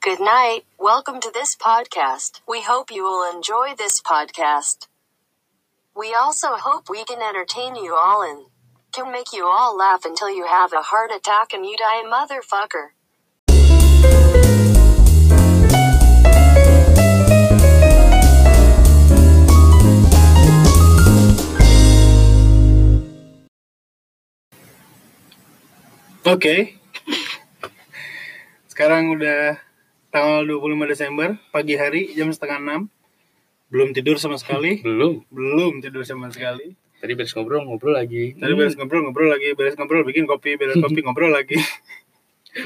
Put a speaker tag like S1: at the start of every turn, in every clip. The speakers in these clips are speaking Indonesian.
S1: Good night. Welcome to this podcast. We hope you will enjoy this podcast. We also hope we can entertain you all and can make you all laugh until you have a heart attack and you die, motherfucker.
S2: Oke, sekarang udah tanggal 25 Desember, pagi hari jam setengah enam. Belum tidur sama sekali,
S3: Belum.
S2: belum tidur sama sekali.
S3: Tadi beres ngobrol, ngobrol lagi.
S2: Tadi beres ngobrol, ngobrol lagi, beres ngobrol, bikin kopi, beres kopi, ngobrol lagi.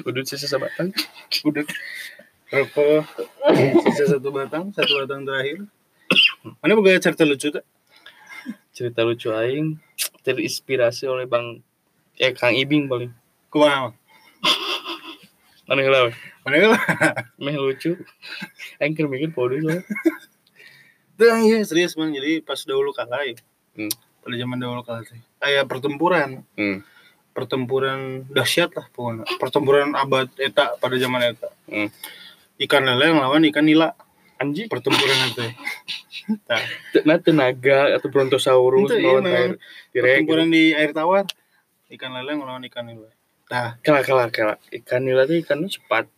S3: Udut sisa sebatang.
S2: Udah rokok, sisa satu batang, satu batang terakhir. Mana boga cerita lucu tak?
S3: Cerita lucu aing terinspirasi oleh Bang eh Kang Ibing paling.
S2: Kumaha?
S3: Mana heula we?
S2: Mana lah?
S3: Meh lucu. Aing keur mikir podo soalnya.
S2: Tuh, iya serius bang. Jadi pas dahulu kala ya,
S3: Hmm.
S2: pada zaman dahulu kala sih, kayak pertempuran,
S3: Hmm.
S2: pertempuran dahsyat lah pokoknya. Pertempuran abad eta pada zaman eta.
S3: Hmm.
S2: Ikan lele ngelawan ikan nila.
S3: Anjing,
S2: Pertempuran itu. ya. Tah,
S3: nah tenaga atau brontosaurus
S2: Itu iya,
S3: lawan
S2: nah.
S3: air gitu. tirek.
S2: pertempuran di air tawar. Ikan lele ngelawan ikan nila. Nah,
S3: Kala kala kala. Ikan nila tuh ikannya cepat.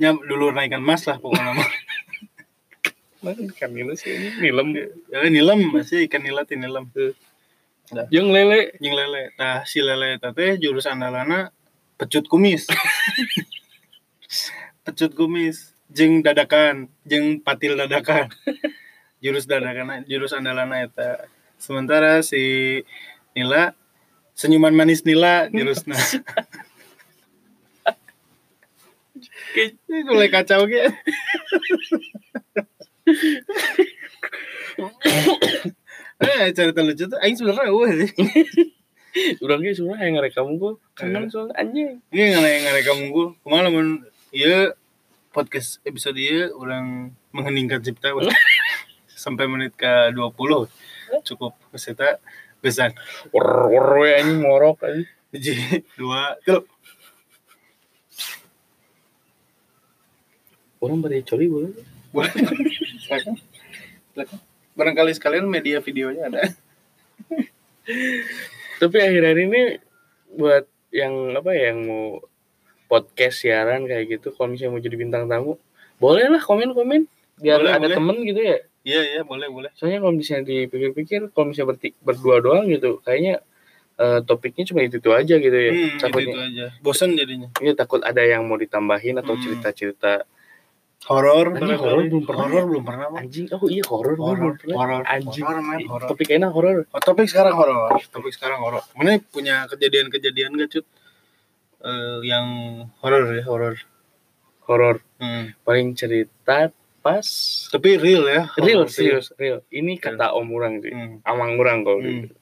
S2: nyam dulu ikan mas lah pokoknya. mah.
S3: Mana ikan nila sih ini? Nilem.
S2: Ya, nilem masih ikan nila ti nilem.
S3: Jeung lele.
S2: Jeung lele. Nah, si lele eta teh jurus andalana pecut kumis. pecut kumis jeung dadakan, jeung patil dadakan. jurus dadakan jurus andalana eta. Sementara si Nila senyuman manis Nila jurusna. Ini mulai kacau ge. Eh, cerita lucu tuh aing sebenarnya eueuh sih.
S3: Urang ge sebenarnya aing ngarekamu gua kangen soalnya anjing.
S2: Ini ngarek ngarek kamu gue kemana mun Iya podcast episode iya orang mengheningkan cipta weh. sampai menit ke 20 cukup keseta besan
S3: Wor wor we anjing ngorok anjing.
S2: jadi dua tilu
S3: Orang bari coli boleh.
S2: Boleh. Silakan. Silakan. barangkali sekalian media videonya ada
S3: Tapi akhir-akhir ini buat yang apa ya, yang mau podcast siaran kayak gitu, kalau misalnya mau jadi bintang tamu, bolehlah komen-komen biar
S2: Boleh,
S3: ada
S2: boleh.
S3: temen gitu ya.
S2: iya iya boleh boleh
S3: Soalnya kalau misalnya dipikir-pikir, kalau misalnya berti- berdua doang gitu, kayaknya eh, topiknya cuma itu itu aja gitu ya.
S2: hmm, itu,
S3: takutnya
S2: itu aja bosan jadinya
S3: iya, takut ada yang mau ditambahin atau
S2: Hmm.
S3: cerita-cerita
S2: horor
S3: Anjing,
S2: barangkali.
S3: horor belum pernah.
S2: horor belum pernah Bang.
S3: anjing. Oh iya horor
S2: horor
S3: horor.
S2: horor
S3: Anjing.
S2: horor man horor
S3: Topik enak horor.
S2: Oh, topik sekarang horor. Topik sekarang horor. Mana punya kejadian-kejadian gak cut? Eh, yang horor ya horor.
S3: Horor
S2: Hmm.
S3: paling cerita pas
S2: Tapi real ya. horor.
S3: real serius real. Ini kata om orang sih.
S2: Hmm.
S3: Amang orang kalau
S2: Hmm.
S3: gitu.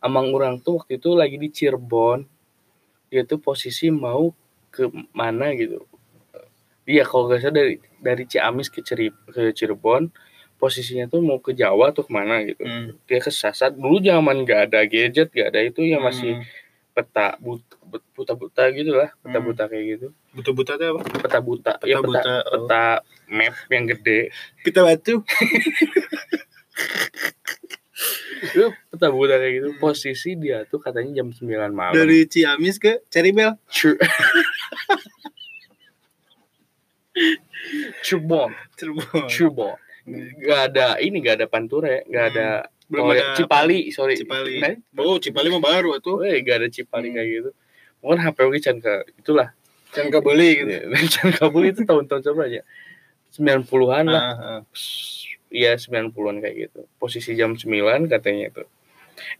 S3: Amang orang tuh waktu itu lagi di Cirebon. Dia tuh posisi mau ke mana gitu. Dia kalau nggak salah dari dari Ciamis ke Ciri, ke Cirebon, posisinya tuh mau ke Jawa atau kemana gitu.
S2: Hmm.
S3: Dia kesasar dulu zaman nggak ada gadget, nggak ada itu ya masih
S2: Hmm.
S3: peta buta buta, buta gitu lah, peta
S2: Hmm.
S3: buta kayak gitu.
S2: buta-buta teh apa?
S3: Peta buta,
S2: Peta
S3: ya peta
S2: buta, oh.
S3: peta map yang gede.
S2: Pita batu.
S3: Itu peta buta kayak gitu.
S2: Hmm.
S3: Posisi dia tuh katanya jam 9 malam.
S2: Dari Ciamis ke Ceribel.
S3: Cu- Cubon,
S2: Cirebon.
S3: Cubon. Gak ada ini, gak ada Panture, gak ada
S2: Hmm, Belum
S3: oh, ya,
S2: ada
S3: Cipali, sorry.
S2: Cipali.
S3: Nah,
S2: Oh, Cipali mah baru tuh.
S3: weh, gak ada Cipali
S2: Hmm.
S3: kayak gitu. Mungkin HP oke can ke itulah.
S2: Jangan kebeli gitu.
S3: Can kabul itu tahun-tahun coba aja. 90-an lah.
S2: Ah, ah.
S3: Iya 90-an kayak gitu. Posisi jam 9 katanya itu.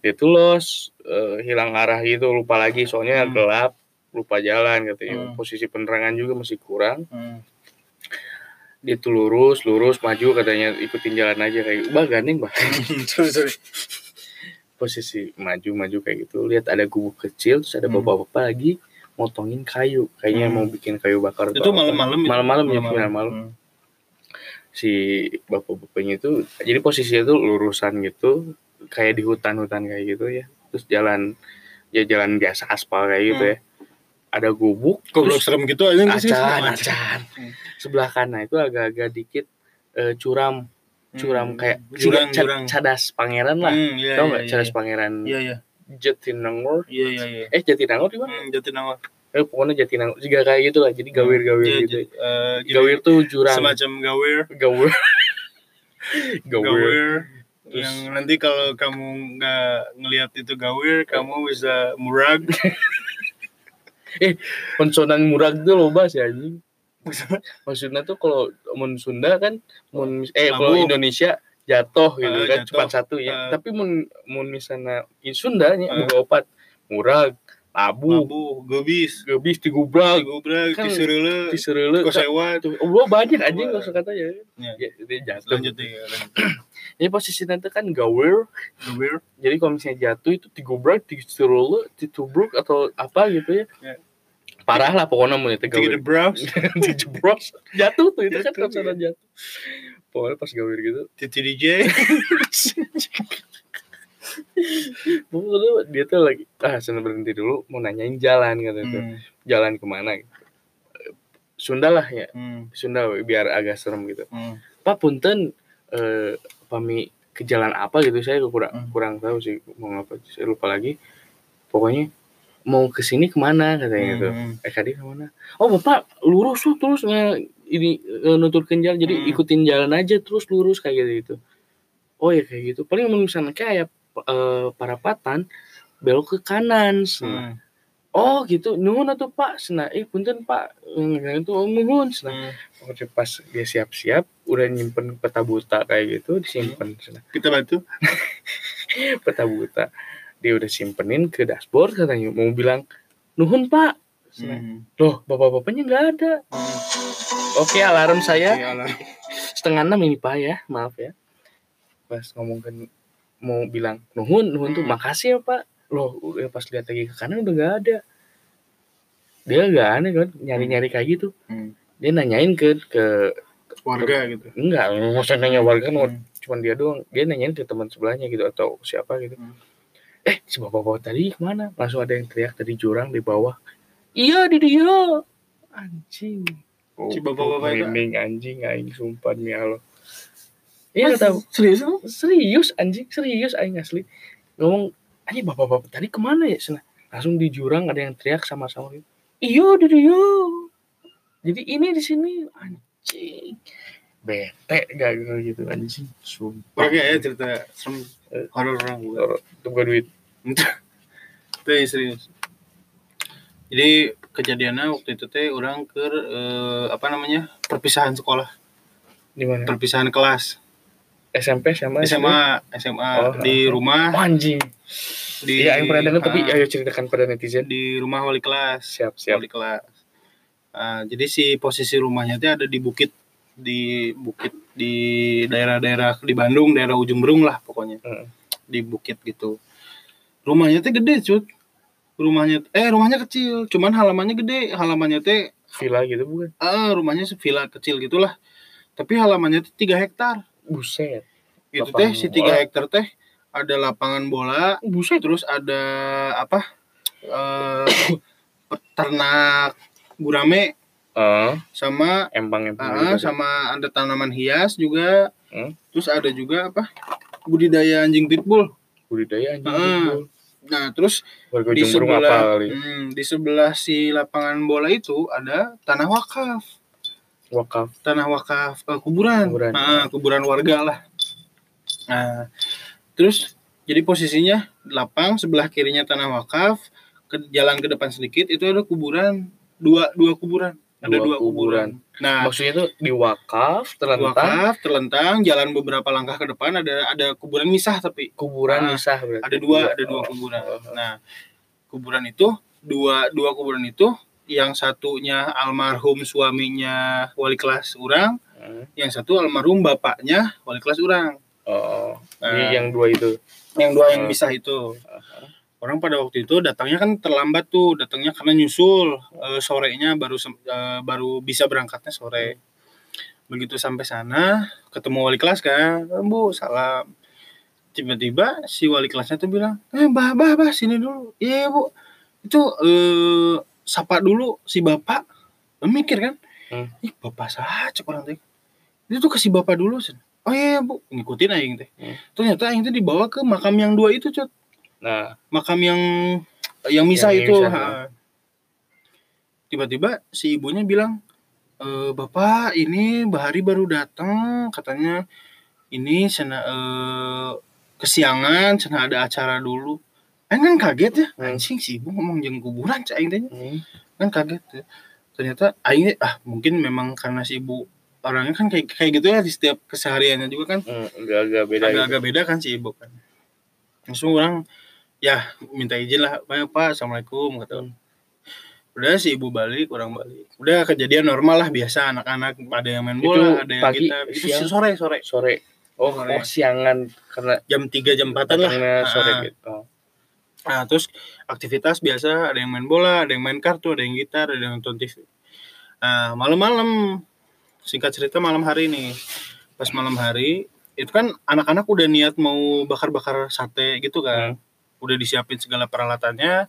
S3: Dia tuh los, eh, hilang arah gitu, lupa lagi soalnya
S2: Hmm.
S3: gelap, lupa jalan katanya.
S2: Hmm.
S3: Posisi penerangan juga masih kurang.
S2: Hmm.
S3: dia tuh lurus lurus maju katanya ikutin jalan aja kayak bah gandeng bah
S2: sorry, sorry.
S3: posisi maju maju kayak gitu lihat ada gubuk kecil terus ada
S2: Hmm.
S3: bapak bapak lagi motongin kayu kayaknya
S2: Hmm.
S3: mau bikin kayu bakar atau
S2: Itu
S3: apa.
S2: malam-malam. itu.
S3: Malam-malam, jam sembilan malam.
S2: Hmm.
S3: si bapak bapaknya itu jadi posisinya tuh lurusan gitu kayak di hutan hutan kayak gitu ya terus jalan ya jalan biasa aspal kayak gitu
S2: Hmm.
S3: ya ada gubuk
S2: Goblok serem gitu aja nggak sih?
S3: acan acan sebelah kanan itu agak-agak dikit eh, curam
S2: Hmm,
S3: curam kayak
S2: jurang
S3: ca-
S2: jurang
S3: cadas pangeran lah
S2: Hmm, iya, iya,
S3: tau nggak
S2: iya,
S3: cadas pangeran
S2: iya iya
S3: Jatinangor
S2: iya iya iya
S3: eh Jatinangor di mana
S2: Hmm, Jatinangor
S3: eh, pokoknya Jatinangor juga kayak gitu lah jadi gawir-gawir
S2: Iya,
S3: gitu
S2: ja- eh, jadi
S3: gawir tuh jurang
S2: semacam gawir
S3: gawir gawir
S2: gawir
S3: Terus-
S2: yang nanti kalau kamu nggak ngelihat itu gawir kamu bisa murag
S3: konsonan murag tuh loba sih anjing maksudnya tuh kalau mun Sunda kan mun mis- eh kalau
S2: Labuh.
S3: Indonesia jatuh gitu
S2: Eh,
S3: kan
S2: jatuh.
S3: cuma satu ya
S2: Eh.
S3: tapi mun mun misalnya in Sunda nya
S2: Eh.
S3: boga opat murag labu
S2: mabu gobis
S3: geubis tigubrak
S2: gobrak
S3: Uh. Kan-
S2: tisereule
S3: tisereule
S2: kosewa
S3: Tuh, oh, banyak anjing
S2: Wah.
S3: langsung kata ya.
S2: Ya.
S3: Ya, dia jatuh.
S2: lanjut ya lanjut.
S3: Jadi posisinya itu kan gawir.
S2: gawir
S3: Jadi kalau misalnya jatuh itu digobrak, disuruh, ditubruk atau apa gitu ya.
S2: Ya.
S3: Parah lah pokoknya mau itu
S2: tiga the
S3: gawir.
S2: brows
S3: Dijebros, jatuh tuh itu kan
S2: Jatuh,
S3: konsonan jatuh. Pokoknya pas gawir gitu.
S2: titi dj
S3: Pokoknya dia tuh lagi, ah sana berhenti dulu mau nanyain jalan kata itu.
S2: Hmm,
S3: Jalan kemana gitu. Eh, Sunda lah ya,
S2: hmm,
S3: Sunda biar agak serem gitu.
S2: hmm.
S3: Pak Punten eh, pami ke jalan apa gitu saya kurang
S2: Hmm.
S3: kurang tahu sih mau ngapa saya lupa lagi pokoknya mau ke sini kemana katanya gitu
S2: Hmm,
S3: eh tadi kemana oh bapak lurus tuh terus nge- ini eh, nuturkan jalan jadi
S2: Hmm.
S3: ikutin jalan aja terus lurus kayak gitu gitu oh ya kayak gitu paling mun misalnya kayak eh, parapatan belok ke kanan sana.
S2: hmm,
S3: oh gitu nuhun atuh pak sana eh punten pak itu nuhun sana
S2: hmm.
S3: Waktu Oh, pas dia siap-siap, udah nyimpen peta buta kayak gitu, disimpen. sana.
S2: kita bantu
S3: Peta buta. Dia udah simpenin ke dashboard katanya. Mau bilang, Nuhun pak. Sana.
S2: Hmm,
S3: Loh, bapak-bapaknya nggak ada.
S2: hmm.
S3: Oke, alarm saya.
S2: Iya lah.
S3: Setengah enam ini pak ya, maaf ya. Pas ngomong ke, mau bilang, Nuhun, Nuhun tuh
S2: Hmm.
S3: makasih ya pak. Loh, udah pas lihat lagi ke kanan udah nggak ada. Dia nggak aneh kan, nyari-nyari kayak gitu.
S2: Hmm.
S3: Dia nanyain ke, ke
S2: warga gitu
S3: enggak, maksudnya nanya warga kan
S2: Hmm,
S3: cuman dia doang dia nanyain ke teman sebelahnya gitu atau siapa gitu
S2: Hmm.
S3: eh si bapak bapak tadi kemana langsung ada yang teriak dari jurang di bawah iya di dia anjing Oh,
S2: Si bapak-bapak itu-
S3: Merinding, anjing aing sumpah demi Allah iya
S2: Mas,
S3: tahu
S2: serius lu?
S3: serius anjing serius aing asli ngomong anjing bapak bapak tadi kemana ya sana langsung di jurang ada yang teriak sama-sama gitu iya di dia jadi ini di sini anjing bete gak gitu anjing sumpah
S2: Oke ya cerita serem horor orang bukan.
S3: itu bukan duit
S2: Itu yang iya, serius. Jadi kejadiannya waktu itu teh orang ke eh, apa namanya perpisahan sekolah,
S3: di mana
S2: perpisahan kelas
S3: SMP SMA
S2: SMA SMA
S3: Oh,
S2: di
S3: oh. Oh,
S2: rumah
S3: anjing
S2: di
S3: iya yang pernah dengar tapi
S2: ah,
S3: ayo ceritakan pada netizen
S2: di rumah wali kelas
S3: siap siap
S2: wali kelas. Ah, jadi si posisi rumahnya teh ada di bukit di bukit di daerah-daerah di Bandung daerah ujung Berung lah pokoknya
S3: Heeh.
S2: di bukit gitu rumahnya teh gede cut rumahnya eh rumahnya kecil cuman halamannya gede halamannya teh
S3: villa gitu bukan
S2: eh rumahnya se- villa kecil gitulah tapi halamannya teh tiga hektar
S3: buset
S2: itu
S3: Lapangan
S2: teh si tiga
S3: bola.
S2: hektar teh ada lapangan bola
S3: buset
S2: terus ada apa eh peternak gurame
S3: eh
S2: sama
S3: empang empang gitu.
S2: Ah, sama ada tanaman hias juga.
S3: Hmm.
S2: Terus ada juga apa? Budidaya anjing pitbull.
S3: budidaya anjing
S2: Ah.
S3: gitu.
S2: Nah, terus
S3: warga
S2: di
S3: jumbrung
S2: sebelah
S3: apa kali
S2: hmm, di sebelah si lapangan bola itu ada tanah wakaf.
S3: wakaf
S2: Tanah wakaf eh, kuburan.
S3: Kuburan.
S2: Ah,
S3: iya.
S2: kuburan warga lah. Nah, terus jadi posisinya lapang sebelah kirinya tanah wakaf, ke jalan ke depan sedikit itu ada kuburan dua dua kuburan. Ada dua,
S3: Dua
S2: kuburan. Nah,
S3: maksudnya tuh di wakaf terlentang
S2: wakaf terlentang jalan beberapa langkah ke depan ada ada kuburan misah tapi
S3: kuburan
S2: Ah,
S3: misah berarti
S2: ada dua ada dua
S3: Oh.
S2: kuburan
S3: Oh.
S2: nah kuburan itu dua dua kuburan itu yang satunya almarhum suaminya wali kelas orang
S3: Hmm.
S2: yang satu almarhum bapaknya wali kelas orang
S3: oh Jadi
S2: Nah,
S3: yang dua itu
S2: yang dua yang
S3: Hmm.
S2: misah itu orang pada waktu itu datangnya kan terlambat tuh datangnya karena nyusul Eh, sorenya baru sem- eh, baru bisa berangkatnya sore begitu sampai sana ketemu wali kelas kan "Eh, bu salam tiba-tiba si wali kelasnya tuh bilang eh bah bah bah sini dulu iya iya, bu itu eh sapa dulu si bapak Lu mikir kan
S3: Hmm.
S2: ih bapak saja orang teh itu tuh kasih bapak dulu sen oh iya, iya, bu ngikutin aing teh
S3: Hmm.
S2: ternyata aing teh dibawa ke makam yang dua itu cot
S3: nah
S2: makam yang yang misah
S3: Yang
S2: itu
S3: misah,
S2: ha. tiba-tiba si ibunya bilang e, bapak ini bahari baru datang katanya ini sana eh, kesiangan sana ada acara dulu Aing kan kaget ya
S3: Hmm.
S2: anjing si ibu ngomong jeung kuburan cah aing teh
S3: hmm.
S2: kan kaget ya. ternyata aing ah mungkin memang karena si ibu orangnya kan kayak kayak gitu ya di setiap kesehariannya juga kan
S3: Hmm, agak-agak beda gitu.
S2: agak-agak beda kan si ibu kan langsung orang ya minta izin lah pak pak assalamualaikum kata orang. udah si ibu balik orang balik udah kejadian normal lah biasa anak-anak ada yang main
S3: Itu
S2: bola ada yang
S3: pagi,
S2: kita itu
S3: siang?
S2: sore sore
S3: sore oh,
S2: Sore.
S3: oh siangan karena
S2: jam 3 jam 4 lah
S3: karena sore
S2: Ah.
S3: gitu oh.
S2: Nah, terus aktivitas biasa ada yang main bola, ada yang main kartu, ada yang gitar, ada yang nonton TV. Nah, malam-malam singkat cerita malam hari nih. Pas malam hari itu kan anak-anak udah niat mau bakar-bakar sate gitu
S3: Hmm.
S2: kan. Udah disiapin segala peralatannya.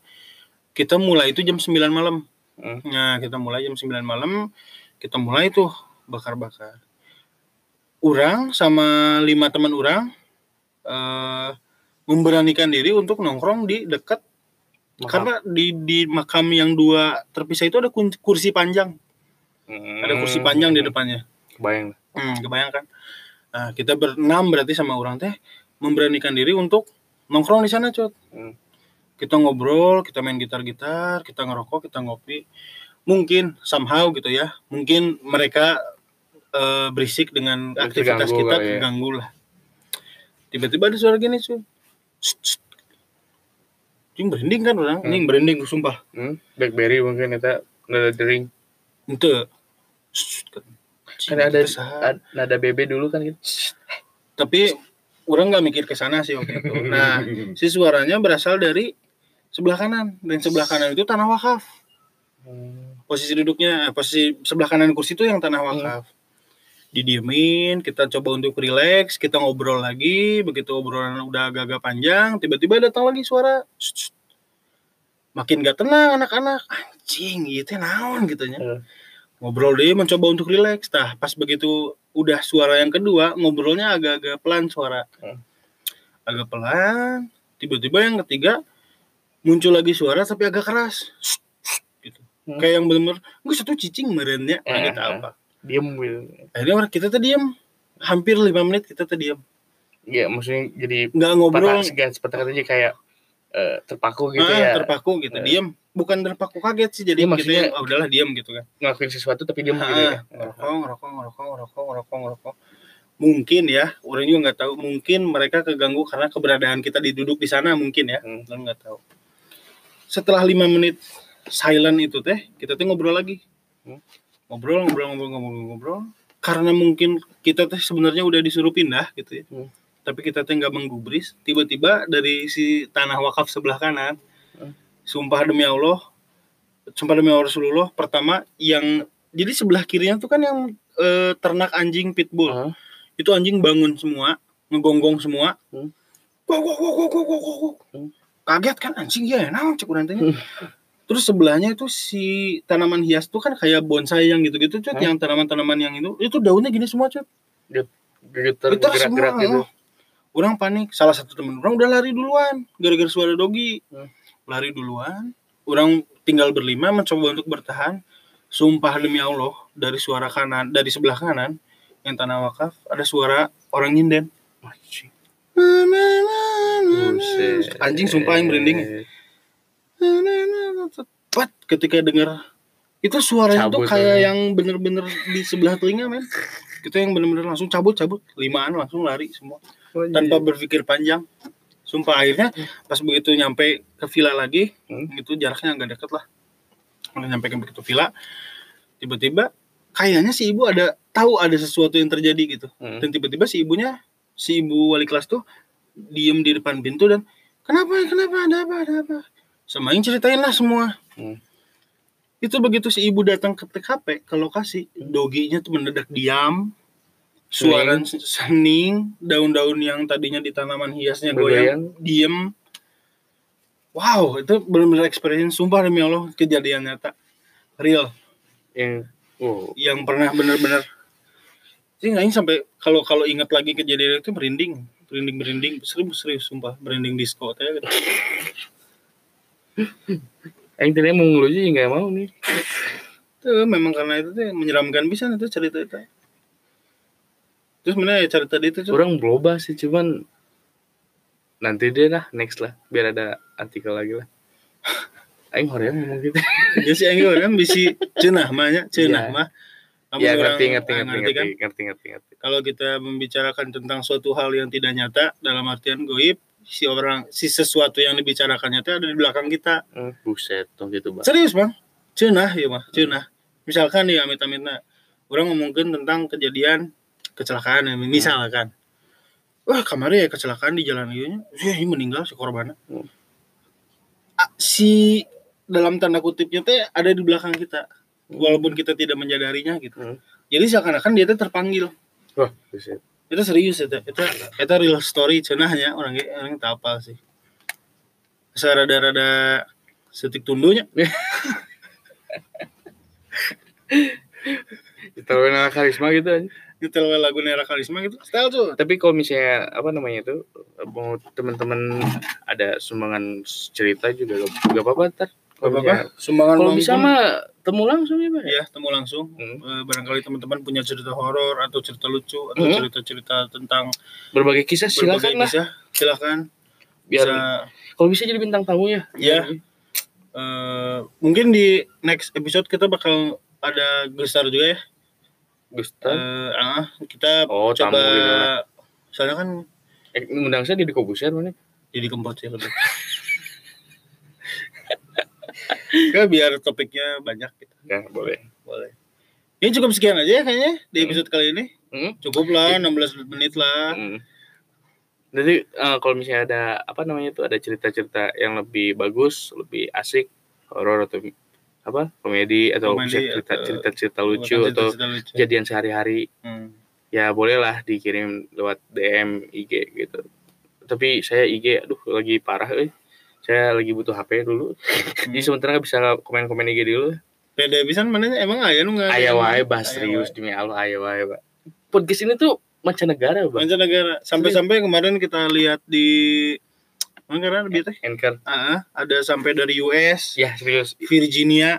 S2: Kita mulai itu jam 9 malam.
S3: Hmm.
S2: Nah, kita mulai jam 9 malam, kita mulai tuh bakar-bakar. Orang sama lima teman orang eh memberanikan diri untuk nongkrong di dekat
S3: Makam.
S2: karena di di makam yang dua terpisah itu ada kun- kursi panjang,
S3: Hmm.
S2: ada kursi panjang di depannya.
S3: kebayang
S2: Hmm, kebayangkan. Nah, kita berenam berarti sama orang teh memberanikan diri untuk nongkrong di sana, Cot.
S3: Hmm.
S2: Kita ngobrol, kita main gitar-gitar, kita ngerokok, kita ngopi. Mungkin somehow gitu ya. Mungkin mereka eh, berisik dengan
S3: Terganggu
S2: aktivitas kita
S3: kali ya.
S2: terganggu lah. Tiba-tiba ada suara gini, Cot. Ini berhenti kan orang, ini berhenti sumpah.
S3: hmm? blackberry mungkin itu nada dering
S2: Ente.
S3: kan ada ad- nada BB dulu kan gitu
S2: tapi orang nggak mikir ke sana sih waktu itu. Nah, si suaranya berasal dari sebelah kanan dan sebelah kanan itu tanah wakaf.
S3: Hmm.
S2: Posisi duduknya, eh, posisi sebelah kanan kursi itu yang tanah wakaf. Didiemin, kita coba untuk relax, kita ngobrol lagi, begitu obrolan udah agak-agak panjang, tiba-tiba datang lagi suara. Shh, shh. Makin gak tenang anak-anak. Anjing, ieu teh naon gitu nya.
S3: Hmm.
S2: Ngobrol deh mencoba untuk relax. Tah, pas begitu udah suara yang kedua, ngobrolnya agak-agak pelan suara.
S3: Hmm.
S2: Agak pelan. Tiba-tiba yang ketiga muncul lagi suara tapi agak keras. Gitu.
S3: Hmm.
S2: Kayak yang bener-bener, gue satu cicing merennya,
S3: Eh,
S2: kita
S3: eh.
S2: apa.
S3: diem gitu
S2: Akhirnya orang kita tuh diem, hampir lima menit kita tuh diem,
S3: ya maksudnya jadi
S2: nggak ngobrol,
S3: patah segan sepatah katanya kayak eh, terpaku gitu
S2: ah,
S3: ya
S2: terpaku gitu,
S3: Eh.
S2: diem. Bukan terpaku kaget sih, jadi
S3: Iya,
S2: kita yang
S3: maksudnya-
S2: "Ah, udahlah diem gitu kan.
S3: ngelakuin sesuatu tapi dia gitu ya
S2: Ah, ngerokok, ngerokok, ngerokok, ngerokok, ngerokok, ngerokok. Mungkin ya, orang juga nggak tahu. Mungkin mereka keganggu karena keberadaan kita diduduk di sana mungkin ya.
S3: Hmm.
S2: Orang nggak tahu. Setelah lima menit silent itu teh, kita tuh ngobrol lagi.
S3: Hmm.
S2: Ngobrol, ngobrol, ngobrol, ngobrol, ngobrol. Karena mungkin kita teh sebenarnya udah disuruh pindah gitu ya.
S3: Hmm.
S2: Tapi kita teh nggak menggubris. Tiba-tiba dari si tanah wakaf sebelah kanan,
S3: Hmm.
S2: sumpah demi Allah, sumpah demi Allah Rasulullah. Pertama yang jadi sebelah kirinya tuh kan yang eh, ternak anjing pitbull
S3: Heeh.
S2: itu anjing bangun semua ngegonggong semua
S3: Hmm.
S2: Gok, gok, gok, gok, gok, gok, gok.
S3: Hmm.
S2: kaget kan anjing ya naon cek urang teh.
S3: Hmm.
S2: terus sebelahnya itu si tanaman hias tuh kan kayak bonsai yang gitu-gitu cut
S3: Hmm.
S2: yang tanaman-tanaman yang itu itu daunnya gini semua cut
S3: gerak
S2: Getar
S3: gerak gerak
S2: semua,
S3: gitu
S2: orang panik salah satu temen orang udah lari duluan gara-gara suara dogi
S3: Hmm.
S2: lari duluan orang tinggal berlima mencoba untuk bertahan sumpah demi Allah dari suara kanan dari sebelah kanan yang tanah wakaf ada suara orang nyinden Na, na, na, na, na.
S3: Buset.
S2: anjing sumpah yang merinding Na, na, na, na. Pat, ketika dengar itu suaranya
S3: Cabut,
S2: tuh kayak
S3: ya.
S2: yang bener-bener di sebelah telinga men kita yang bener-bener langsung cabut-cabut limaan langsung lari semua
S3: Eh,
S2: tanpa
S3: Iya.
S2: berpikir panjang sumpah akhirnya pas begitu nyampe ke villa lagi
S3: Hmm.
S2: itu jaraknya agak deket lah Udah nyampe ke begitu villa tiba-tiba kayaknya si ibu ada tahu ada sesuatu yang terjadi gitu
S3: Hmm.
S2: dan tiba-tiba si ibunya si ibu wali kelas tuh diem di depan pintu dan kenapa kenapa ada apa ada apa sama yang ceritain lah semua
S3: Hmm.
S2: itu begitu si ibu datang ke TKP ke lokasi
S3: Hmm.
S2: doginya tuh mendadak diam suara sening daun-daun yang tadinya di tanaman hiasnya goyang
S3: Bergoyang.
S2: diem wow itu benar-benar experience sumpah demi Allah kejadian nyata real
S3: yang Oh,
S2: yang pernah bener-bener sih nggak sampai kalau kalau ingat lagi kejadian itu merinding merinding merinding serius serius sumpah merinding disco teh gitu.
S3: aing tadi mau ngelucu ya nggak mau nih.
S2: Tuh, memang karena itu teh menyeramkan bisa itu cerita itu terus mana ya cerita dia itu
S3: Orang berubah sih cuman nanti deh lah next lah biar ada artikel lagi lah. Aing hoream ngomong gitu.
S2: ya sih yang orang bisi cenah mahnya cenah
S3: Iya.
S2: mah Namun
S3: Ya
S2: orang-
S3: ngerti ngerti
S2: ah,
S3: ngerti
S2: kan?
S3: ngerti ngerti ngerti ngerti.
S2: kalau kita membicarakan tentang suatu hal yang tidak nyata dalam artian goib si orang si sesuatu yang dibicarakannya itu ada di belakang kita
S3: Eh, Buset dong gitu bang.
S2: serius bang cenah ya mah cenah misalkan nih amit amitna orang ngomongin tentang kejadian kecelakaan ya,
S3: Hmm.
S2: misalkan wah kemarin ya kecelakaan di jalan ieu nya ini meninggal si korbannya
S3: Hmm.
S2: Ah, si dalam tanda kutipnya teh ada di belakang kita walaupun kita tidak menyadarinya gitu
S3: Hmm.
S2: jadi seakan-akan dia teh terpanggil
S3: Wah buset.
S2: itu serius itu itu itu real story cenahnya orang orang tak apa sih saya rada rada setik tundunya
S3: Ditaruhin ala karisma gitu aja.
S2: gitu lagu Nera Karisma gitu style tuh
S3: Tapi kalau misalnya apa namanya itu mau teman-teman ada sumbangan cerita juga gak, gak apa-apa ntar.
S2: apa
S3: Kalau
S2: apa
S3: misalnya-
S2: sumbangan
S3: Kalau
S2: uang
S3: bisa
S2: pun-
S3: mah temu langsung ya bang.
S2: ya temu langsung
S3: Hmm.
S2: Eh, barangkali teman-teman punya cerita horor atau cerita lucu atau
S3: Hmm.
S2: cerita-cerita tentang
S3: Berbagai kisah
S2: berbagai
S3: silakan lah.
S2: kisah silakan
S3: Biar
S2: bisa
S3: kalau bisa jadi bintang tamu ya.
S2: Ya. eh, mungkin di next episode kita bakal ada gestar juga ya
S3: Gusta.
S2: Eh, ah, kita
S3: Oh, tamu
S2: coba
S3: gitu
S2: soalnya kan
S3: Eh, ngundang saya di Kobuser mana?
S2: jadi ya. kempot sih lebih Nggak, Kan biar topiknya banyak gitu
S3: Ya boleh.
S2: boleh ini cukup sekian aja ya kayaknya di episode kali ini
S3: Hmm?
S2: cukup lah 16 menit lah
S3: Hmm. Jadi eh, kalau misalnya ada apa namanya itu ada cerita-cerita yang lebih bagus, lebih asik, horor atau apa komedi atau
S2: Komedi
S3: bisa cerita
S2: atau-
S3: cerita cerita lucu atau
S2: Cerita-cerita lucu.
S3: kejadian sehari-hari
S2: Hmm.
S3: ya bolehlah dikirim lewat DM IG gitu tapi saya IG aduh lagi parah eh saya lagi butuh HP dulu
S2: Hmm.
S3: jadi sementara nggak bisa komen-komen IG dulu
S2: pede bisa mana emang ayah lu nggak
S3: ayah wae bahas
S2: Aya
S3: serius demi Allah ayah wae pak podcast ini tuh mancanegara
S2: wae.
S3: bang
S2: mancanegara sampai-sampai kemarin kita lihat di mana karena lebih teh
S3: anchor
S2: Ah, ada sampai dari US
S3: ya serius
S2: Virginia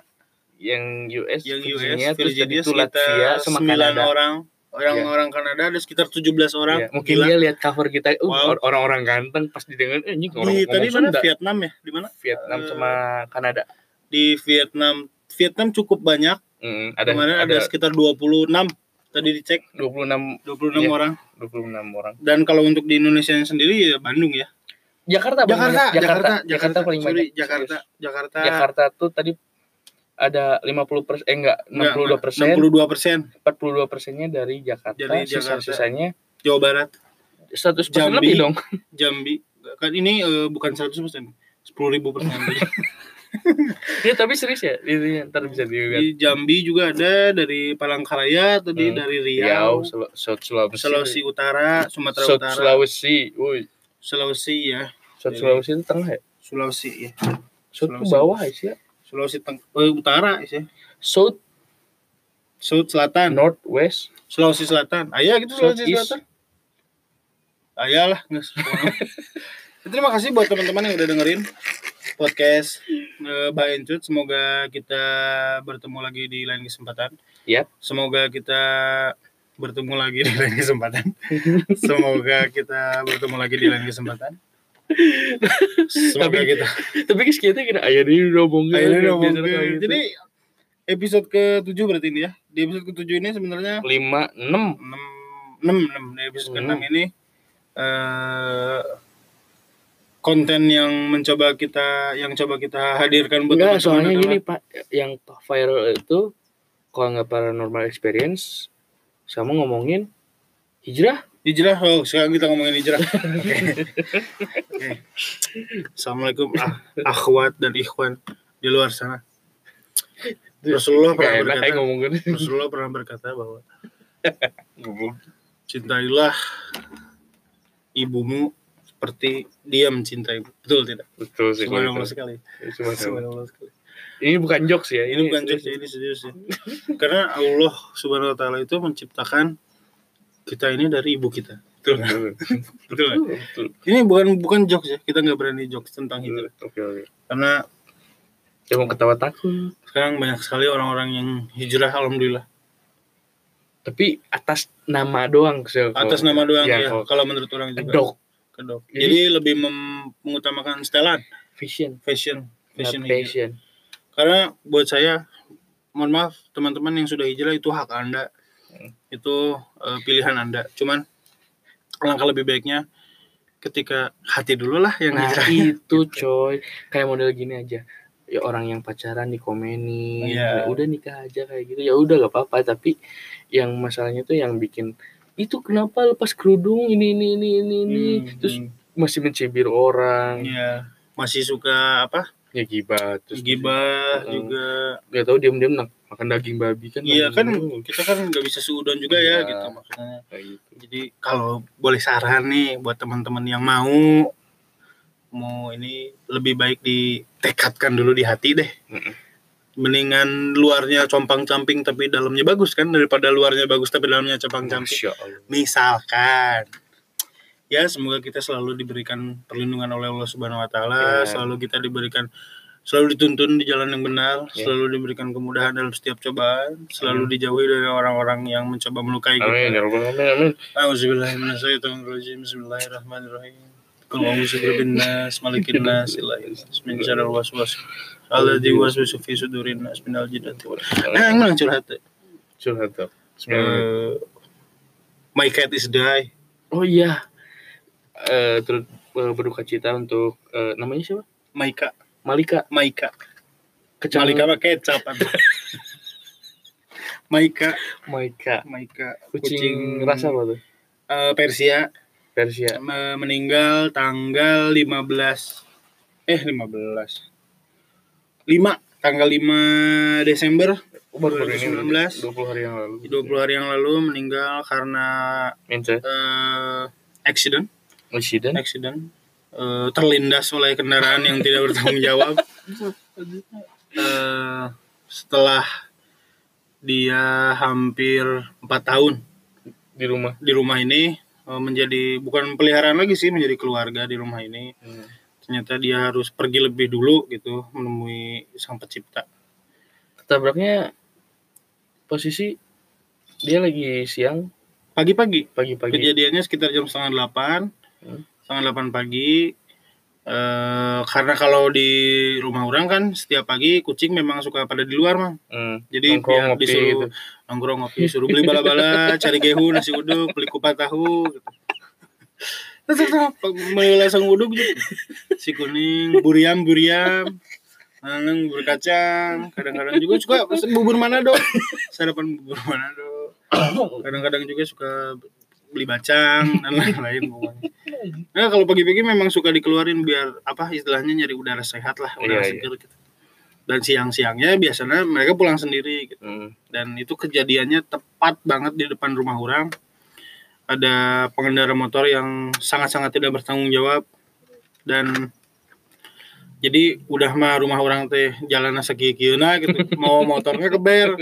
S3: yang US
S2: yang
S3: Virginia,
S2: US
S3: terus tadi
S2: Virginia
S3: itu Latvia
S2: sekitar
S3: sama
S2: 9
S3: Kanada
S2: orang orang-orang Kanada ada sekitar 17 orang
S3: Ya, mungkin
S2: Gila.
S3: dia lihat cover kita uh,
S2: Wow.
S3: or- orang-orang ganteng pas didengar eh, ini orang
S2: di
S3: ngomong
S2: tadi mana
S3: Sunda.
S2: Vietnam ya di mana
S3: Vietnam sama Kanada
S2: di Vietnam Vietnam cukup banyak
S3: Mm, ada,
S2: kemarin ada,
S3: ada,
S2: sekitar 26 tadi dicek
S3: 26
S2: 26
S3: Iya.
S2: orang
S3: 26 orang
S2: dan kalau untuk di Indonesia sendiri ya Bandung ya
S3: Jakarta paling
S2: Jakarta
S3: banyak. Jakarta,
S2: Jakarta
S3: Jakarta paling
S2: sorry,
S3: banyak.
S2: Jakarta
S3: Serius.
S2: Jakarta
S3: Jakarta tuh tadi ada 50 persen, eh enggak, 62 persen,
S2: 62 persen
S3: 42 persennya dari Jakarta,
S2: Dari
S3: sisa
S2: Jakarta.
S3: sisanya
S2: Jawa Barat
S3: 100
S2: Jambi.
S3: lebih dong.
S2: Jambi kan ini eh, bukan 100 persen 10 ribu persen
S3: Iya tapi serius ya, ini ntar bisa dilihat.
S2: di Jambi juga ada dari Palangkaraya tadi
S3: Hmm.
S2: dari
S3: Riau,
S2: Riau
S3: Sula- South Sulawesi,
S2: Iya, Sulawesi Utara Sumatera
S3: South
S2: Utara
S3: Sulawesi, woi,
S2: Sulawesi ya
S3: South
S2: Jadi-
S3: Sulawesi itu tengah ya,
S2: Sulawesi ya
S3: South itu
S2: Sulawesi.
S3: bawah sih ya,
S2: Sulawesi Teng- eh, Utara ya
S3: South,
S2: South Selatan
S3: North, West,
S2: Sulawesi Selatan. Ayah gitu Kan? Sulawesi
S3: Southeast.
S2: Selatan. Ah, Ayah lah. nges. Terima kasih buat teman-teman yang udah dengerin podcast eh, By Encut. Semoga kita bertemu lagi di lain kesempatan.
S3: Yap.
S2: Semoga kita bertemu lagi di lain kesempatan. Semoga kita bertemu lagi di lain kesempatan. Semoga
S3: Tapi-
S2: kita.
S3: tapi guys kita kira ayah ini udah ngomongin,
S2: Akhirnya udah
S3: biasa
S2: ngomong.
S3: kayak gitu.
S2: Jadi episode ke-7 berarti ini ya. Di episode ke-7 ini sebenarnya
S3: lima enam
S2: 6 6 enam di episode
S3: Hmm.
S2: ke-6 ini eh konten yang mencoba kita yang coba kita hadirkan buat
S3: Enggak,
S2: teman-teman
S3: soalnya
S2: adalah-
S3: gini Pak, yang viral itu kalau nggak paranormal experience sama ngomongin hijrah.
S2: hijrah oh sekarang kita ngomongin hijrah oke Oke. assalamualaikum ah, akhwat dan ikhwan di luar sana Rasulullah
S3: Nggak
S2: pernah
S3: enak
S2: berkata
S3: kayak ngomongin.
S2: Rasulullah pernah berkata bahwa cintailah ibumu seperti dia mencintai betul tidak
S3: Betul sih. kalau
S2: subhanallah
S3: itu.
S2: sekali
S3: Subhanallah.
S2: subhanallah sekali
S3: Ini bukan jokes ya.
S2: ini bukan jokes ya, ini serius ya. Karena Allah Subhanahu wa taala itu menciptakan kita ini dari ibu kita. Betul nggak? Betul nggak?
S3: Betul.
S2: Ini bukan bukan jokes ya. Kita nggak berani jokes tentang hijrah.
S3: Oke oke.
S2: Karena
S3: Jangan Ya, ketawa takut.
S2: sekarang banyak sekali orang-orang yang hijrah alhamdulillah.
S3: Tapi atas nama doang Sil.
S2: Atas
S3: Kalau-
S2: nama doang
S3: Iya,
S2: ya.
S3: kalau-
S2: Kalau gitu. menurut orang juga.
S3: Kedok
S2: Kedok.
S3: Jadi-
S2: Jadi lebih mem- mengutamakan setelan,
S3: vision,
S2: fashion, fashion
S3: not
S2: hijrah.
S3: passion.
S2: Karena buat saya, mohon maaf teman-teman yang sudah hijrah itu hak anda,
S3: Hmm.
S2: itu eh, pilihan anda. Cuman langkah lebih baiknya ketika hati dulu lah yang
S3: Nah
S2: hijrah.
S3: itu coy Kayak model gini aja ya orang yang pacaran dikomenin
S2: Iya.
S3: ya udah nikah aja kayak gitu ya udah gak apa-apa tapi yang masalahnya tuh yang bikin itu kenapa lepas kerudung ini ini ini ini ini
S2: Hmm,
S3: terus masih mencibir orang
S2: Iya. masih suka apa?
S3: ya gibah terus
S2: Gibah
S3: Mm.
S2: juga.
S3: gak tahu diam-diam nak- makan daging babi kan
S2: Iya kan
S3: daging
S2: kita kan nggak bisa seudon juga ya
S3: Iya.
S2: gitu makanya.
S3: kayak gitu
S2: Jadi kalau boleh saran nih buat teman-teman yang mau mau ini lebih baik ditekadkan dulu di hati deh.
S3: Mm-mm.
S2: Mendingan luarnya compang-camping tapi dalamnya bagus kan daripada luarnya bagus tapi dalamnya compang-camping.
S3: Masya Allah
S2: Misalkan ya semoga kita selalu diberikan perlindungan oleh Allah Subhanahu wa taala,
S3: Ya.
S2: selalu kita diberikan selalu dituntun di jalan yang benar,
S3: Ya.
S2: selalu diberikan kemudahan dalam setiap cobaan, selalu dijauhi dari orang-orang yang mencoba melukai kita.
S3: amin ya rabbal alamin amin
S2: Auzubillahiminasyaitonirrojim. Bismillahirrahmanirrahim. Kul a'udzu birabbin nas, malikin nas, ilahin nas, min syarril waswas alladzi yuwaswisu fi sudurin nas minal jinnati wal Nah, ngulang curhat. eh.
S3: curhat dong. gitu.
S2: Eh, my cat is die.
S3: oh iya Eh terus eh, berduka cita untuk eh, namanya siapa
S2: Maika,
S3: Malika
S2: Maika.
S3: kecang
S2: Malika mah kecap. atuh. Maika,
S3: Malika.
S2: Maika.
S3: Kucing, rasa apa tuh?
S2: eh, Persia
S3: Persia.
S2: Me- meninggal tanggal 15 eh 15 5 tanggal 5 Desember
S3: Oh, Baru baru ini
S2: 2019.
S3: 20 hari yang lalu.
S2: 20 hari yang lalu meninggal karena
S3: Minta Oh,
S2: eh, accident
S3: Presiden.
S2: accident Eh, terlindas oleh kendaraan yang tidak bertanggung jawab Eh, setelah dia hampir 4 tahun
S3: di rumah.
S2: di rumah ini eh, menjadi bukan peliharaan lagi sih menjadi keluarga di rumah ini
S3: Hmm.
S2: ternyata dia harus pergi lebih dulu gitu menemui sang pencipta
S3: Ketabraknya posisi dia lagi siang
S2: pagi-pagi
S3: pagi-pagi.
S2: kejadiannya sekitar jam setengah delapan
S3: Hmm.
S2: setengah delapan pagi Eh, karena kalau di rumah orang kan setiap pagi kucing memang suka pada di luar mang
S3: Hmm.
S2: jadi
S3: Nongkrong,
S2: biar
S3: ngopi
S2: disuruh
S3: gitu.
S2: nongkrong ngopi suruh beli bala-bala cari gehu nasi uduk beli kupat tahu gitu. Terus, terus, terus, mulai langsung uduk gitu. si kuning buriam buriam Anang bubur kacang, kadang-kadang juga suka bubur Manado. Sarapan bubur Manado. Kadang-kadang juga suka beli bacang dan lain-lain pokoknya. Nah, kalau pagi-pagi memang suka dikeluarin biar apa istilahnya nyari udara sehat lah, udara
S3: Iya, iya.
S2: segar gitu. Dan siang-siangnya biasanya mereka pulang sendiri gitu
S3: Hmm.
S2: dan itu kejadiannya tepat banget di depan rumah orang ada pengendara motor yang sangat-sangat tidak bertanggung jawab dan jadi udah mah rumah orang teh jalan sakieu-kieuna gitu mau motornya keber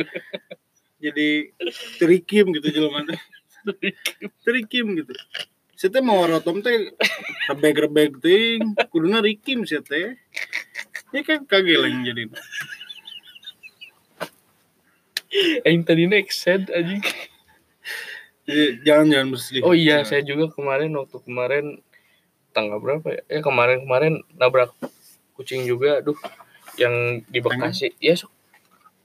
S2: jadi terikim gitu jelema teh terikim gitu Saya teh mau rotom teh rebeg-rebeg ting kuduna rikim sih teh ini kan kageleng jadi
S3: Aing Eh, tadi next set anjing.
S2: Jadi, jangan jangan bersedih
S3: Oh iya,
S2: Jangan.
S3: saya juga kemarin waktu kemarin tanggal berapa ya? Eh kemarin-kemarin nabrak kucing juga, aduh. Yang di Bekasi, ya Sok.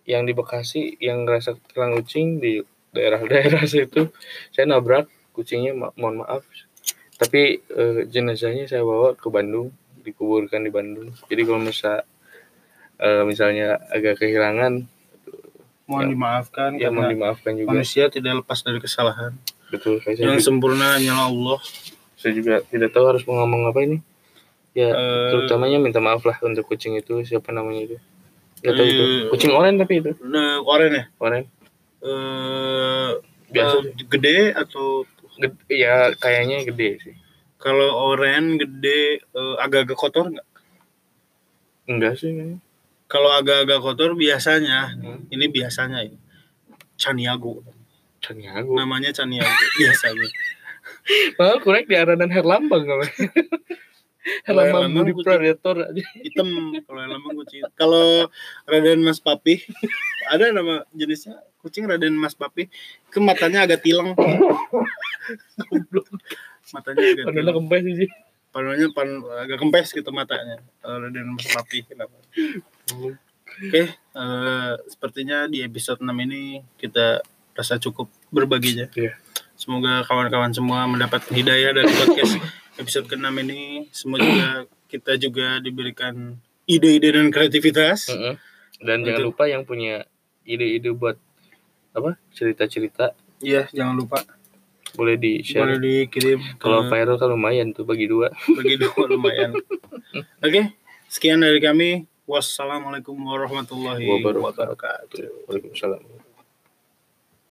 S3: Yang di Bekasi yang ngerasa terang kucing di daerah-daerah situ, saya nabrak kucingnya, ma- mohon maaf. Tapi eh, jenazahnya saya bawa ke Bandung, dikuburkan di Bandung. Jadi kalau misal eh, misalnya agak kehilangan,
S2: mohon
S3: Ya.
S2: dimaafkan
S3: ya
S2: karena
S3: mohon dimaafkan juga. Iya.
S2: manusia tidak lepas dari kesalahan
S3: Betul, saya,
S2: yang
S3: juga,
S2: sempurna hanyalah Allah
S3: saya juga tidak tahu harus mau ngomong apa ini. Ya,
S2: Eh,
S3: terutamanya minta maaf lah untuk kucing itu siapa namanya itu nggak tahu itu
S2: Eh.
S3: kucing oren tapi itu
S2: nah, oren ya
S3: oren
S2: Eh,
S3: Biasa.
S2: eh, gede atau
S3: Gede, ya kayaknya gede sih
S2: kalau oren gede eh, agak-agak kotor nggak
S3: enggak sih kayaknya.
S2: kalau agak-agak kotor biasanya
S3: Hmm.
S2: ini biasanya ya Caniago
S3: Caniago.
S2: namanya Caniago biasanya
S3: Padahal kurang di aranan Herlambang kalau.
S2: Herlambang
S3: Herlambang Budi
S2: kucing. Iya,
S3: Predator aja.
S2: hitam kalau yang lama kucing kalau Raden Mas Papi ada nama jenisnya kucing Raden Mas Papi ke matanya agak tilang matanya agak
S3: Padahal
S2: tilang
S3: kempes sih.
S2: panunya pan agak kempes gitu matanya kalau Raden Mas Papi kenapa Hmm. Oke, eh, sepertinya di episode 6 ini kita rasa cukup berbaginya.
S3: Iya.
S2: Semoga kawan-kawan semua mendapat hidayah dari podcast episode ke-6 ini. Semoga kita juga diberikan ide-ide dan kreativitas.
S3: Heeh. Dan jangan
S2: Betul.
S3: lupa yang punya ide-ide buat apa cerita-cerita
S2: Iya, jangan lupa
S3: boleh di
S2: boleh
S3: share.
S2: dikirim ke-
S3: Kalau viral kan lumayan tuh bagi dua.
S2: bagi dua lumayan. Oke, sekian dari kami. Wassalamualaikum warahmatullahi
S3: Wabarakatuh.
S2: wabarakatuh.
S3: Waalaikumsalam.